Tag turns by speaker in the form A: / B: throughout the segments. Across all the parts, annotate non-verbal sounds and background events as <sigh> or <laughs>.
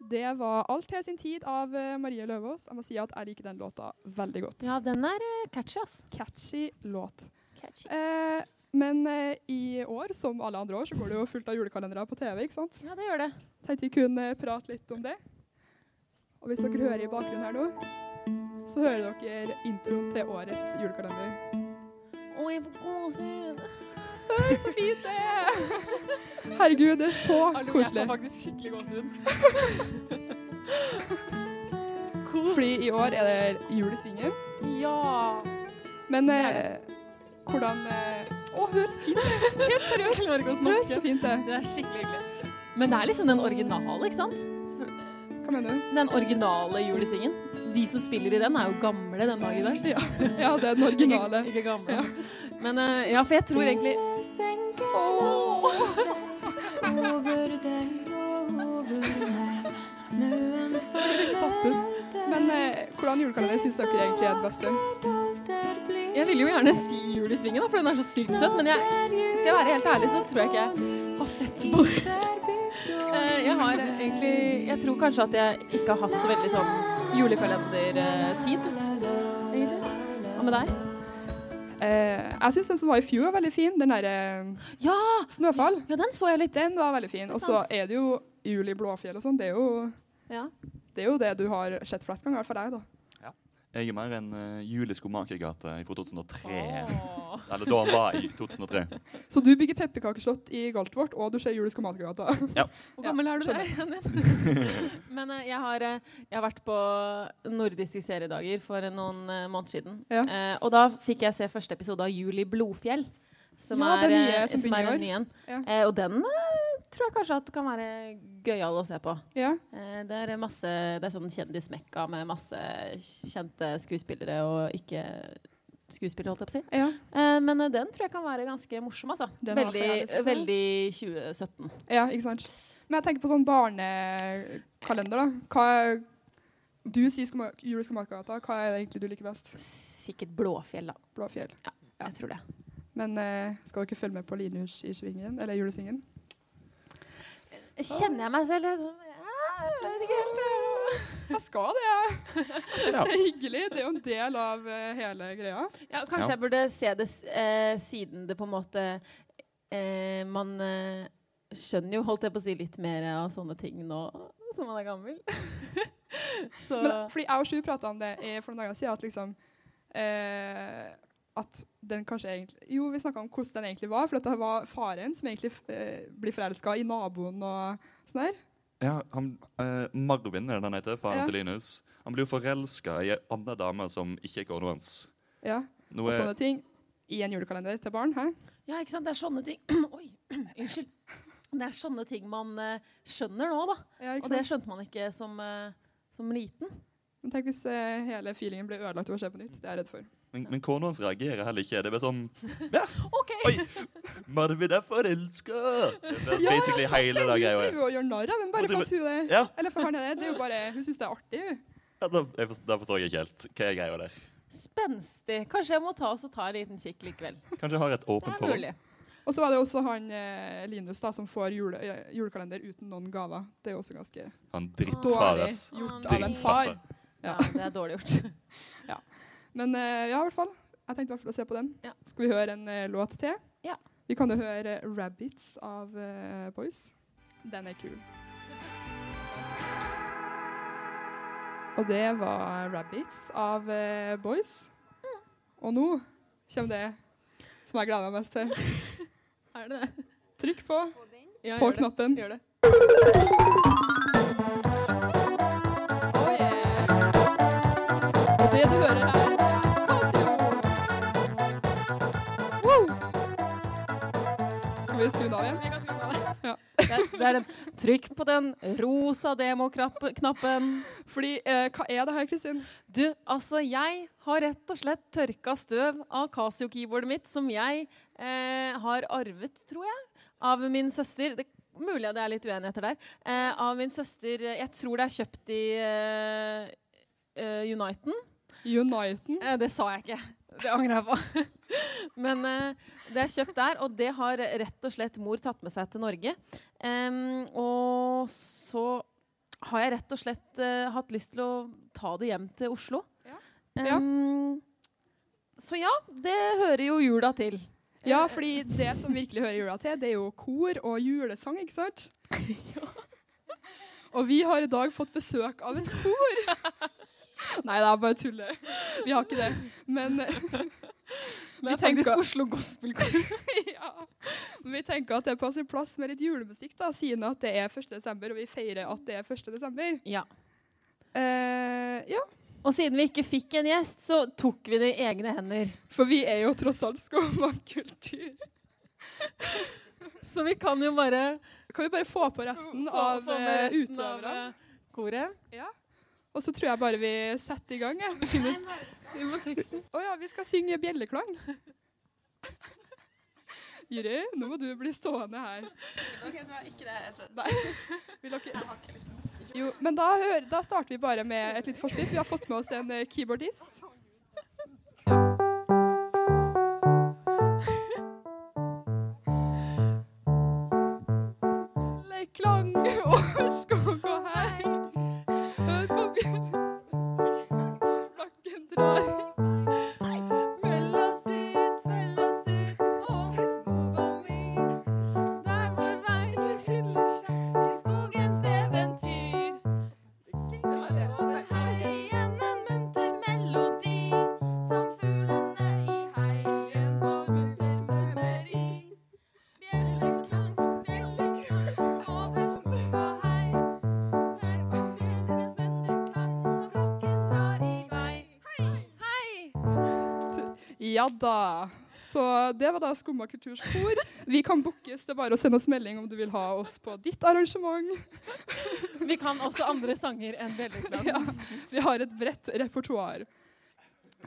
A: det var 'Alt til sin tid' av eh, Marie Løvaas. Jeg må si at jeg liker den låta veldig godt.
B: Ja, den er eh, catchy, ass.
A: Catchy låt.
B: Catchy.
A: Eh, men eh, i år, som alle andre år, så går det jo fullt av julekalendere på TV. ikke sant?
B: Ja, det gjør det.
A: Tenkte vi kunne eh, prate litt om det. Og hvis dere hører i bakgrunnen her nå, så hører dere introen til årets julekalender.
B: Å, jeg får gåsehud.
A: Oi, så fint det er! Herregud, det <laughs> er så koselig.
C: faktisk skikkelig gåsehud.
A: Fordi i år er det jul i svingen.
C: Ja.
A: Men
C: Det
A: eh,
C: er
A: hvordan eh, Å, hør så fint det er! Helt
C: Jeg
A: seriøst.
C: klarer ikke å
A: Hør så
C: snakke.
A: fint det er.
C: Det er skikkelig hyggelig.
B: Men det er liksom den originale, ikke sant?
A: Hva mener du?
B: Den originale julesingen. De som spiller i den, er jo gamle den dag i dag.
A: Ja, det er den originale.
B: Ikke, ikke gamle.
A: Ja.
B: Men eh, ja, for jeg tror egentlig
D: Over deg og over meg. Snøen følger
A: Men eh, hvordan julekalender syns dere egentlig er den beste?
B: Jeg ville jo gjerne si Jul i svingen, da, for den er så sykt søt, men jeg skal jeg være helt ærlig, så tror jeg ikke jeg har sett på Eh, Jeg har egentlig Jeg tror kanskje at jeg ikke har hatt så veldig sånn julekalendertid, egentlig. Hva med deg?
A: Eh, jeg syns den som var i fjor, var veldig fin. Den derre eh,
B: Ja!
A: Snøfall.
B: Ja, den så jeg litt.
A: Den var veldig fin. Og så
B: sant.
A: er det jo jul i Blåfjell og sånn. Det, er jo-
B: Ja.
A: det er jo det du har sett flest ganger, i hvert fall jeg, da.
E: Jeg er mer en uh, juleskomakergate fra 2003.
B: Åh.
E: Eller da han var i 2003.
A: Så du bygger pepperkakeslott i Galtvort, og du ser jul i Skomakergata.
B: Hvor
A: Ja,
B: gammel er du
A: skjønner.
B: deg? <laughs> Men eh, jeg, har, eh, jeg har vært på nordiske seriedager for eh, noen eh, måneder siden.
A: Ja.
B: Eh, og da fikk jeg se første episode av Juli Blodfjell. Som
A: Ja,
B: er,
A: den nye
B: eh,
A: som
B: som er
A: begynner i
B: en
A: år.
B: ny en.
A: Ja.
B: Eh, og den eh, tror jeg kanskje at kan være gøyal å se på.
A: Ja.
B: Eh, det, er masse, det er sånn kjendismekka med masse kjente skuespillere og ikke skuespillere, holdt jeg på å si.
A: ja.
B: Eh, men eh, den tror jeg kan være ganske morsom, altså.
A: Den har
B: Veldig,
A: flere, synes jeg.
B: veldig 2017.
A: Ja, ikke sant. Men jeg tenker på sånn barnekalender, da. Hva er, du sier skoma, jul i Skomakergata. Hva er det egentlig du liker best?
B: Sikkert Blåfjell, da.
A: Blåfjell. Ja.
B: Jeg tror det.
A: Men eh, skal dere følge med på Linus i svingen, eller julesingen?
B: Kjenner jeg meg selv litt sånn ja, jeg vet ikke helt.
A: Jeg skal det, <laughs> jeg. Jeg syns det er hyggelig. Det er jo en del av eh, hele greia.
B: Ja, kanskje
E: Ja.
B: jeg burde se det s- eh, siden det på en måte eh, Man eh, skjønner jo, holdt jeg på å si, litt mer av sånne ting nå som man er gammel. <laughs> Så
A: Men, fordi jeg og Sju prata om det i- for noen dager siden, at liksom eh, At den kanskje egentlig Jo, vi snakka om hvordan den egentlig var, for at det var faren som egentlig eh, blir forelska i naboen og sånn der.
E: Ja, han, eh, Marvin er det han heter, faren
A: Ja.
E: til Linus. Han blir jo forelska i ei anna dame som ikke er kona hans.
A: Ja, og
E: Noe
A: sånne ting. I en julekalender til barn. Hæ?
B: Ja, ikke sant. Det er sånne ting <clears throat> Oi, unnskyld. Det er sånne ting man eh, skjønner nå, da.
A: Ja,
B: Og
A: ikke
B: det
A: sant?
B: skjønte man ikke som, eh, som liten.
A: Men tenk hvis eh, hele feelingen ble ødelagt av å se på nytt. Det er jeg redd for.
E: Men, men kona hans reagerer heller ikke. Det er bare sånn
B: OK!
E: Oi! Marvin er forelska! Det er basically hele
A: Hun
E: den greia.
A: driver jo og gjør narr av den
E: Og
A: bare
E: du
A: for at hun er
E: Ja,
A: Eller for han er det. Det er jo bare Hun syns det er artig, hun.
E: ja, da, jeg forstår, da forstår jeg ikke helt hva er greia der.
B: Spenstig. Kanskje jeg må ta, oss og ta en liten kikk likevel.
E: Kanskje jeg har et
B: Det
E: åpent
B: er
E: forhold.
B: mulig.
A: Og så var det også han eh, Linus da, som får jule, eh, julekalender uten noen gaver. Det er jo også ganske
E: Han
A: dårlig
E: drittfar, ass.
A: gjort
B: Å,
A: av en far.
B: Ja,
A: Ja.
B: det er dårlig
A: <laughs>
B: gjort.
A: Men eh, ja, i hvert fall. Jeg tenkte i hvert fall å se på den.
B: Ja.
A: Skal vi høre en eh, låt til?
B: Ja.
A: Vi kan jo høre eh, 'Rabbits' av eh, Boys. Den er kul. Og det var 'Rabbits' av eh, Boys.
B: Mm.
A: Og nå kommer det som jeg gleder meg mest til.
B: Er det det?
A: Trykk på,
B: Ja,
A: på
B: gjør det.
A: knappen.
B: Gjør det.
A: Oh yeah. Og det du hører her, er Casio. Woo! Skal vi skru den av igjen?
B: Vi kan skru den av.
A: Ja.
B: Det er, det er den. Trykk på den rosa demoknappen.
A: Fordi, eh, hva er det her, Kristin?
B: Du, altså, jeg har rett og slett tørka støv av Casio-keyboardet mitt, som jeg eh, har arvet, tror jeg, av min søster. Det Mulig at det er litt uenigheter der. Eh, av min søster eh, Jeg tror det er kjøpt i eh, eh, Uniten.
A: Uniten.
B: Eh, det sa jeg ikke. Det angrer jeg på. <laughs> Men eh, det er kjøpt der, og det har rett og slett mor tatt med seg til Norge. Em, og så har jeg rett og slett eh, hatt lyst til å ta det hjem til Oslo.
A: Ja.
B: Eh, så ja, det hører jo jula til.
A: Ja, fordi det som virkelig hører jula til, det er jo kor og julesang, ikke sant? <laughs> Og vi har i dag fått besøk av et kor. Nei, det er bare tulle. Vi har ikke det. Men <laughs>
B: Det
A: vi
B: er faktisk
A: tenker,
B: Oslo Gospel Choir.
A: <laughs> ja. Men vi tenker at det er på sin plass med litt julemusikk, da, siden at det er 1. desember, og vi feirer at det er 1. desember.
B: Ja.
A: Eh, ja,
B: Og siden vi ikke fikk en gjest, så tok vi det i egne hender.
A: for vi er jo tross alt <laughs> skummakultur.
B: Så vi kan jo bare
A: Kan vi bare få på resten av eh, utøverne?
B: koret.
A: Og så tror jeg bare vi setter i gang. Jeg.
B: Vi må teksten.
A: Å ja, vi skal synge bjelleklang. Juri, nå må du bli stående her. Nei. Vil dere Jo, men da, hører, da starter vi bare med et litt forspill. for Vi har fått med oss en eh, keyboardist. <laughs> Bjelleklang over skog og hei. Hør på bjelleklang, flakken drar. Følg oss ut, følg oss ut over skog og myr. Der hvor veien skiller seg i skogens eventyr. Over her igjen en munter melodi, som fuglene i heigen sorgen bestemmer i. Bjelleklang, bjelleklang, over skog og hei. Der hvor bjellenes muntre klang, når klokken drar i vei. Hei! Ja da. Så det var da Skumma kulturs kor. Vi kan bookes. Det er bare å sende oss melding om du vil ha oss på ditt arrangement.
B: Vi kan også andre sanger enn Bjelleklang.
A: Ja, vi har et bredt repertoar.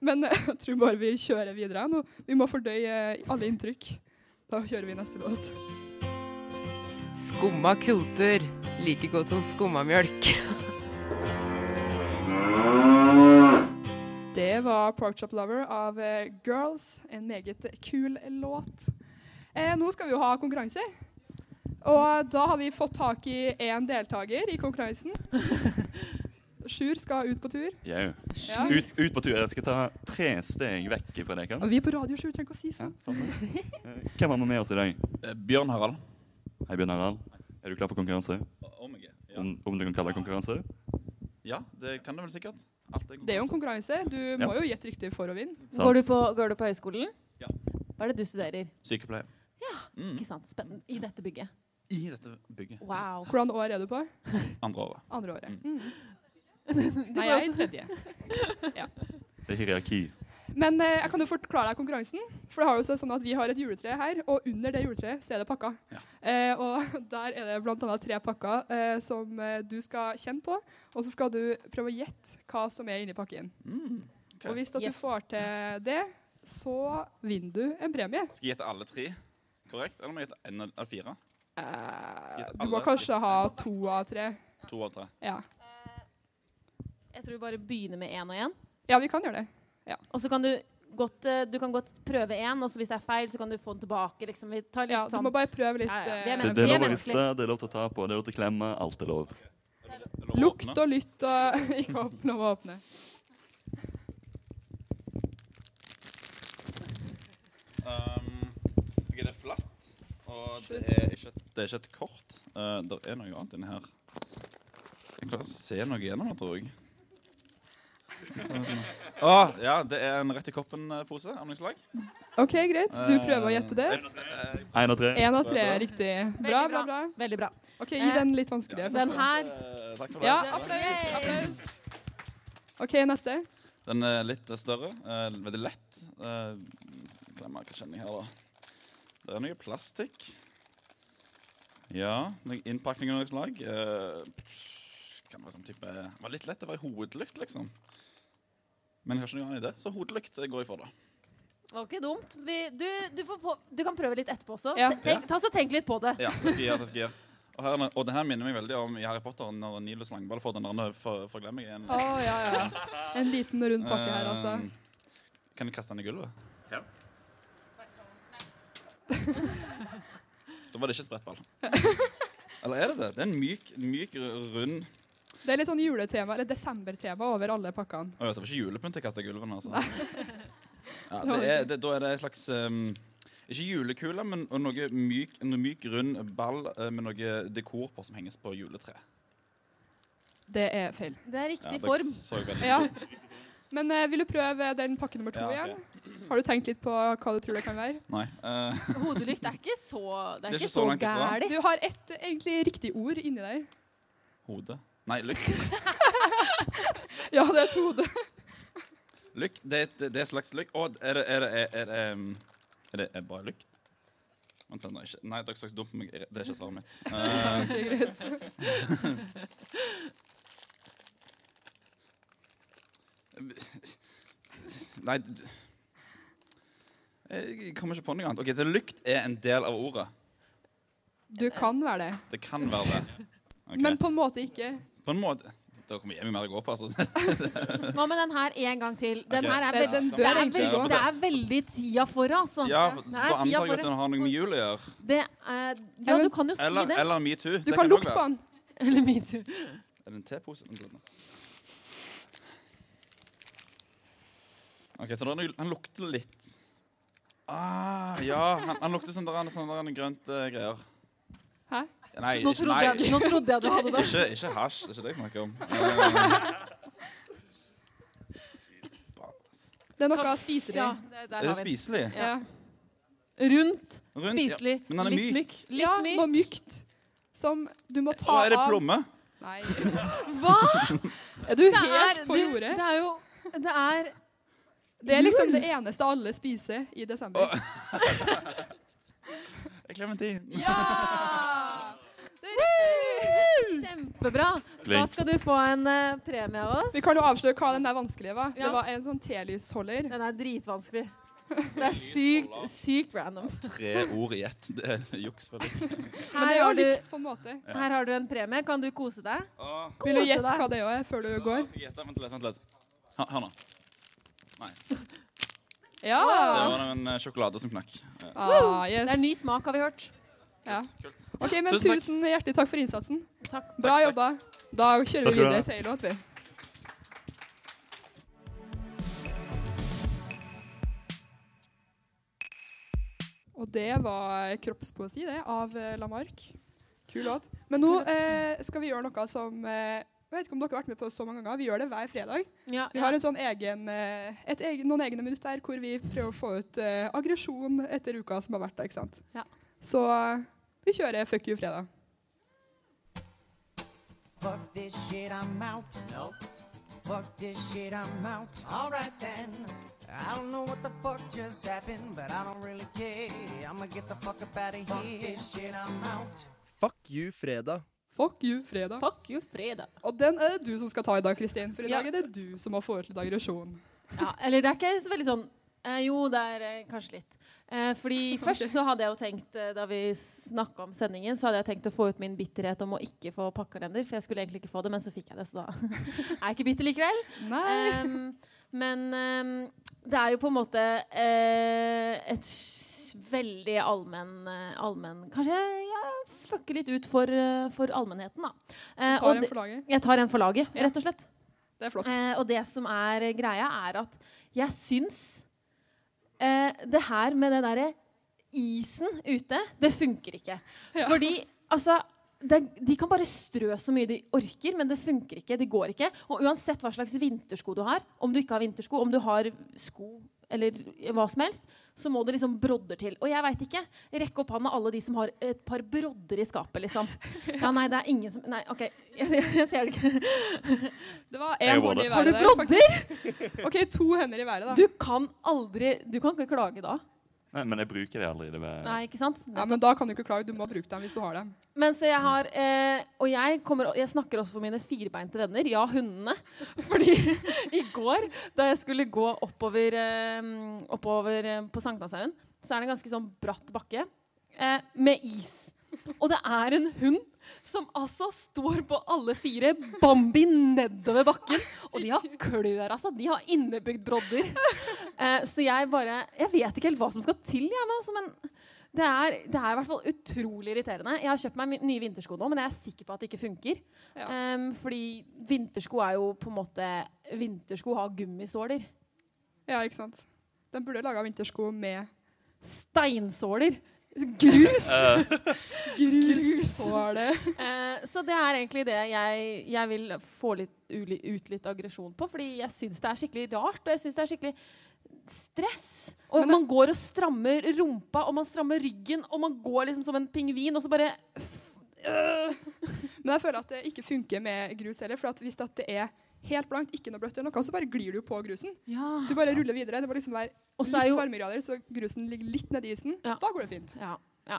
A: Men eh, jeg tror bare vi kjører videre. Nå. Vi må fordøye alle inntrykk. Da kjører vi neste låt.
F: Skumma kultur, like godt som skummamjølk.
A: Det var Pork Chop Lover av eh, Girls. En meget kul låt. Eh, nå skal vi jo ha konkurranse. Og da har vi fått tak i én deltaker i konkurransen. Sjur skal ut på tur.
E: Jau.
A: Ja.
E: Ut, ut på tur. Jeg skal ta tre steg vekk fra deg.
A: Og
E: Kan.
A: vi er på radio, Sjur. Trenger ikke å si
E: Ja,
A: sånn.
B: <laughs>
E: sant det. Eh, Hvem har vi med oss i dag?
G: Eh, Bjørn Harald.
E: Hei, Bjørn Harald. Er du klar for konkurranse?
G: Omega. Ja.
E: Om, om du kan kalle det konkurranse?
G: ja, det kan du vel sikkert. Alt er
A: Det er jo en
G: konkurranse.
A: konkurranse. Du må jo gjette riktig for å vinne.
E: Sant.
B: Går du, på, går du på høyskolen?
G: Ja.
B: Hva er det du studerer?
G: Sykepleier. Mm.
B: Ikke sant? Spennende. I dette bygget.
G: I dette bygget.
B: <laughs> Wow.
A: Hvordan år er du på?
G: Andre året.
A: Andre året. Mm.
B: Nei,
A: jeg er i
B: tredje.
E: Det er hierarki.
A: Men eh, jeg kan jo forklare deg konkurransen. For det har jo seg sånn at Vi har et juletre her, og under det juletreet så er det pakka.
G: Ja.
A: Eh, og <laughs> Der er det bl.a. tre pakker eh, som eh, du skal kjenne på. Og så skal du prøve å gjette hva som er inni pakken.
G: Mm. Ok.
A: Og hvis at
B: Yes.
A: du får til det, så vinner du en premie.
G: Skal jeg gjette alle tre korrekt, eller må jeg gjette én av av fire?
A: Eh,
G: gjette
A: du må
G: alle?
A: kanskje ha to av tre.
G: To av tre.
A: Ja,
B: Jeg tror vi bare begynner med én og én.
A: ja vi kan gjøre det.
B: Og så kan du godt, eh, du kan godt prøve én, og så hvis det er feil, så kan du få den tilbake. Liksom. Vi tar litt
A: Ja, du
B: sånn
A: må bare prøve litt
B: Ja, ja,
A: eh,
B: det er
E: Det,
B: Men vi
E: det er
B: er
E: lov å
B: menneskelig.
E: riste, det er lov til å ta på, det er lov til å klemme. Alt er lov.
G: Eller
A: Lukt
G: åpne.
A: og lytt og <laughs> ikke åpne og åpne.
G: Um, ok, det er flatt, og det er ikke, et- det er ikke et kort. Eh, det er noe annet inni her. Jeg klarer å se noe gjennom det, tror jeg.
A: <laughs>
G: Å, ja, det er en rett i koppen-pose av noe slag.
A: OK, greit. Du
G: Eh,
A: prøver å gjette det.
E: Én og tre.
A: Én av tre er riktig. Bra, bra, bra.
B: sånn Veldig bra. Eh,
A: OK, gi den litt vanskeligere.
B: Den
A: først.
B: her
G: Eh, Takk for det.
A: Ja, applaus. applaus. OK, neste.
G: Den er litt eh, større. eh, veldig lett. Uh, Hvem er kjenning her, da? Det er noe plastikk. Ja, noe innpakning av noe slag. Eh, kan det være sånn type Det var litt lett. Det var en hovedlykt, liksom. Men jeg har ikke noe annet i det, så hovedlykt eh, går jeg for, da.
B: var ikke dumt. Vi, du, du, får på, du kan prøve litt etterpå også.
A: Ja.
B: Tenk, ta så tenk litt på det.
G: Ja, det skal jeg gjøre. det skal jeg gjøre. Og, her, er den- og den her minner meg veldig om i Harry Potter når Nilus Langball får den der for, forglemmingen.
A: Å, ja, ja. En liten rund pakke her, altså.
G: Eh, Kan jeg kaste den i gulvet? <laughs> Ja. da var det ikke sprettball. Eller er det det? Det er en myk, myk r- rund
A: Det er litt sånn juletema, eller desembertema over alle pakkene.
G: Å, ja, så det var ikke julepynt jeg kastet i gulven, altså. <laughs>
A: <laughs>
G: Ja, det er, det, da er det en slags ehm, Ikke julekule, men og noe myk, en myk, rund ball eh, med noe dekor på som henges på juletreet.
A: Det er feil.
B: Det er
G: Ja,
B: riktig
G: dere
B: form.
G: så veldig-
A: Ja. Men eh, vil du prøve den pakke nummer to
G: Ja, ok.
A: igjen? Har du tenkt litt på hva du tror det kan være?
G: Nei. eh,
B: Hodelykt er ikke så Det er, ikke så,
G: langt ifra.
B: gærlig.
A: Du har ett egentlig riktig ord inni der.
G: hode. Nei, lykk.
A: Ja, det er et hode.
G: Lykk, det er, et- det er et slags lykk. Å, er det, er det, er, er, det, um, er det er bare lykt? Vent, den er ikke Nei, dere snakker dumt med meg. Det er ikke svaret mitt. Eh,
A: Det er greit.
G: <laughs> nei d- Jeg kommer ikke på noe annet. Ok, Så lykt er en del av ordet.
A: Du kan være det,
G: Det kan være det. Ok.
A: men på en måte ikke.
G: på en måte Da kommer jeg mye mer å gå på, altså.
B: Sånn. Hva med den her en gang til? Den
G: Ok.
B: her er
A: Den,
B: veldig
A: den
G: Det
B: det
A: bør
B: er,
A: egentlig
B: veldig,
A: gå.
B: det er veldig tida for, altså.
G: Ja, for,
B: Det
G: Da
B: er
G: antar
B: tida
G: jeg at
B: for
G: den har noe med jul å gjøre.
B: det. er,
A: Ja,
B: ja,
A: men-
B: du kan jo si
G: Eller,
B: det.
G: eller metoo.
A: Du kan lukte på den.
B: Eller metoo.
G: Er det en tepose? Vent litt nå. OK, så den, han lukter litt ah, Ja, han, han lukter som der er sånn der er en grønt eh, greier.
A: Hæ?
G: Nei,
B: Nå
G: ikke,
B: trodde, jeg,
G: nei,
B: nå trodde jeg du hadde <laughs> det.
G: ikke, ikke hasj. Det er ikke det jeg
B: <laughs>
G: snakker om. Eh,
A: Det er noe spiselig.
B: Ja, der- der
G: er det
B: har vi den.
G: spiselig?
A: Ja.
B: Rundt,
G: Rundt, ja.
B: spiselig,
G: Men den er
B: litt
G: myk.
B: myk. Litt
A: noe
B: myk.
A: mykt som du må ta
G: Å,
A: av.
G: er det plomme?
A: Nei. <laughs>
B: Hva?
A: Er du
B: Det er,
A: helt på
B: du, det
A: jordet?
B: er jo Det er
A: Det er liksom det eneste alle spiser i desember.
G: Eh, Klementin.
A: Ja! Det er riktig!
B: kjempebra. Da
E: Flink.
B: skal du få en eh, premie av oss.
A: Vi kan jo avsløre hva den der vanskelige var.
B: Ja.
A: Det var en sånn telysholder.
B: Den er dritvanskelig. Det er sykt, sykt random.
G: Tre ord i ett. Det er juks. for deg.
A: Men
B: Her
A: det er jo
B: har, du,
A: likt på en måte.
G: Ja.
B: her har du en premie. Kan du kose deg?
G: Å,
A: Vil du
B: Kose
A: gjette
B: deg.
A: hva det er før du går?
G: skal jeg gjette? Vent litt. vent litt. Hør- Hør nå.
A: Ja!
G: Det var en eh, sjokolade som knakk. Eh,
A: Ah, yes.
B: Det er ny smak, har vi hørt.
A: Ja.
G: Kult.
A: OK, men
G: Tusen takk.
A: tusen hjertelig takk for innsatsen.
B: Takk.
A: Bra jobba. Da kjører vi
E: Takk skal du ha.
A: videre til ei låt, vi. Og det var kroppspoesi, det, av eh, Lamarck. Kul låt. Men nå eh, skal vi gjøre noe som eh, Jeg vet ikke om dere har vært med på så mange ganger. Vi gjør det hver fredag.
B: Ja,
A: Vi har en sånn egen, eh, et egen, noen egne minutter hvor vi prøver å få ut eh, aggresjon etter uka som har vært. da, ikke sant?
B: Ja.
A: Så eh, vi kjører Fuck you fredag.
H: Fuck this shit, I'm out. No. Fuck this shit, I'm out. Alright then. I don't know what the fuck just happened, but I don't really care. I'ma get the fuck up out of here. Fuck this shit, I'm out.
I: Fuck you, fredag.
A: Fuck you fredag.
B: Fuck you, fredag.
A: Og den er det du som skal ta i dag, Kristin. For i
B: Ja.
A: dag er det du som har foreslått aggresjon.
B: Ja, eller det er ikke så veldig sånn eh, Jo, det er eh, kanskje litt. Eh, fordi
A: <laughs>
B: først så hadde jeg jo tenkt, eh, da vi snakka om sendingen, så hadde jeg tenkt å få ut min bitterhet om å ikke få pakkekalender. For jeg skulle egentlig ikke få det, men så fikk jeg det, så da <laughs> er jeg ikke bitter likevel.
A: Nei.
B: Ehm, men ehm, det er jo på en måte eh, et s- veldig allmenn eh, allmenn- Kanskje jeg ja, fucker litt ut for, eh, for allmennheten, da. Eh,
A: Tar
B: og
A: en
B: det-
A: for laget.
B: jeg tar en for laget,
A: Ja.
B: rett og slett.
A: Det er flott.
B: Eh, og det som er greia, er at jeg syns eh, det her med det derre isen ute, det funker ikke.
A: <laughs> Ja.
B: Fordi altså det, de kan bare strø så mye de orker, men det funker ikke. Det går ikke. Og uansett hva slags vintersko du har, om du ikke har vintersko, om du har sko eller hva som helst, så må det liksom brodder til. Og jeg veit ikke. Rekk opp hånda alle de som har et par brodder i skapet, liksom. Ja, nei, det er ingen som Nei, OK. <laughs> Jeg, jeg ser det ikke.
A: Det var
E: Jeg
A: én
E: var
A: hånd i
E: det.
B: Har du
A: været. der,
B: brodder?
A: faktisk. OK, to hender i været, da.
B: Du kan aldri Du kan ikke klage da.
E: Nei, men jeg bruker det aldri. Det var-
B: Nei, ikke sant?
A: Ja, men da kan du ikke klage. Du må bruke dem hvis du har dem.
B: Men så jeg har eh, Og jeg, kommer, jeg snakker også for mine firbeinte venner. Ja, hundene. <laughs> Fordi i går, da jeg skulle gå oppover, eh, oppover eh, på Sankthanshaugen, så er det en ganske sånn bratt bakke eh, med is. Og det er en hund som altså står på alle fire, Bambi nedover bakken. Og de har klør, altså. De har innebygd brodder. Eh, så jeg bare Jeg vet ikke helt hva som skal til, jeg, men altså, men Det er, det er i hvert fall utrolig irriterende. Jeg har kjøpt meg mi- nye vintersko nå, men jeg er sikker på at det ikke funker.
A: Ja.
B: Ehm, fordi vintersko er jo på en måte Vintersko har gummisåler.
A: Ja, ikke sant? De burde laga vintersko med
B: Steinsåler! Grus!
E: Eh,
A: grushåle.
B: Eh, så det er egentlig det jeg, jeg vil få litt, uli, ut litt aggresjon på. Fordi jeg syns det er skikkelig rart, og jeg syns det er skikkelig stress. Og
A: Men det-
B: man går og strammer rumpa, og man strammer ryggen, og man går liksom som en pingvin, og så bare øh.
A: Men jeg føler at det ikke funker med grus heller. For at hvis at det er helt blankt, ikke noe bløtt, eller noe, så bare glir du jo på grusen. Du bare ruller videre. Det må liksom være
B: Og så er
A: litt
B: jo
A: varmegrader, så grusen ligger litt nedi isen.
B: Ja.
A: Da går det fint.
B: ja, ja.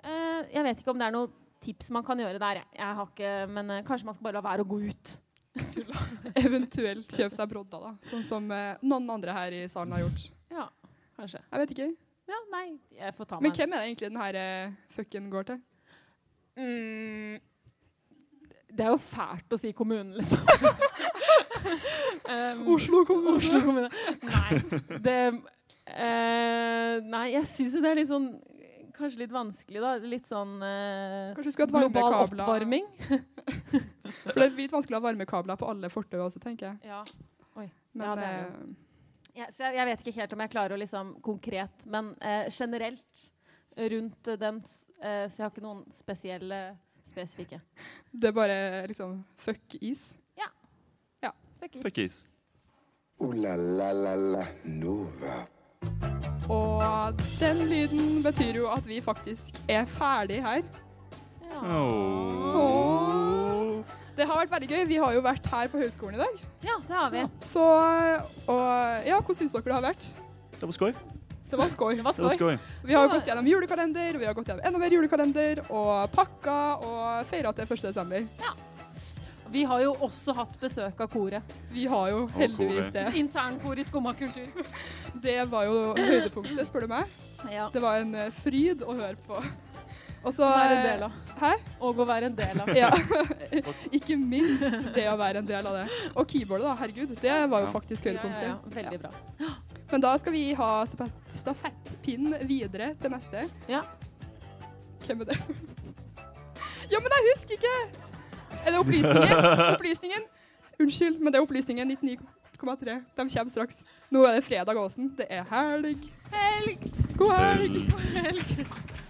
B: Eh, Jeg vet ikke om det er noe tips man kan gjøre der. Jeg, jeg har ikke, men eh, kanskje man skal bare la være å gå ut.
A: <laughs> Eventuelt kjøpe seg brodder, da. Sånn som eh, noen andre her i salen har gjort.
B: Ja, kanskje.
A: Jeg vet ikke.
B: Ja, nei, jeg får ta
A: Men
B: meg en-
A: hvem er det egentlig den her eh, fucken går til?
B: Mm, det er jo fælt å si kommunen,
A: <laughs>
B: liksom. um,
A: Oslo kommune!
B: Oslo kommune. Nei, det eh, Nei, jeg syns jo det er litt sånn Kanskje litt vanskelig, da. Litt sånn eh,
A: Kanskje du skulle hatt
B: global
A: varmekabler?
B: oppvarming.
A: For det er litt vanskelig å ha varmekabler på alle fortau også, tenker jeg.
B: Ja.
A: Men
B: Ja, det er
A: eh,
B: Ja, så jeg, jeg vet ikke helt om jeg klarer å liksom konkret, men eh, generelt rundt eh, den s- eh, Så jeg har ikke noen spesielle, spesifikke.
A: det er bare liksom fuck is.
B: Fuck is.
E: Fuck is.
I: Ooh la la la la Nova.
A: Og den lyden betyr jo at vi faktisk er ferdig her.
B: Ja.
E: Oh.
A: Åh. Det har vært veldig gøy. Vi har jo vært her på høgskolen i dag.
B: ja, det har vi.
A: Så og ja, hvordan syns dere det har vært?
E: Det var skoj.
A: Det var skoj.
B: Det var
E: Det
B: skål.
E: var skoj.
A: Vi har gått gjennom julekalender, og vi har gått gjennom enda mer julekalender, og pakker, og feira til 1. desember.
B: Vi har jo også hatt besøk av koret.
A: Vi har jo heldigvis det.
B: Internkor i Skumma kultur.
A: Det var jo høydepunktet, spør du meg.
B: Ja.
A: Det var en eh, fryd å høre på. Og så
B: Å være en del av.
A: Hæ?
B: Og å være en del av.
A: <laughs> Ja. Ikke minst det å være en del av det. Og keyboardet, da. Herregud, det var jo
E: Ja.
A: faktisk
B: Ja, ja,
A: høydepunktet.
B: ja. Veldig bra.
A: Men da skal vi ha stafett- stafettpinnen videre til neste.
B: Ja.
A: Hvem er det? <laughs> Ja, men jeg husker ikke! Er det opplysningen? Opplysningen? Unnskyld, men det er opplysningen 99,3. De kommer straks. Nå er det fredag, Åsen. Det er helg.
B: Helg!
A: God helg!
B: Helg!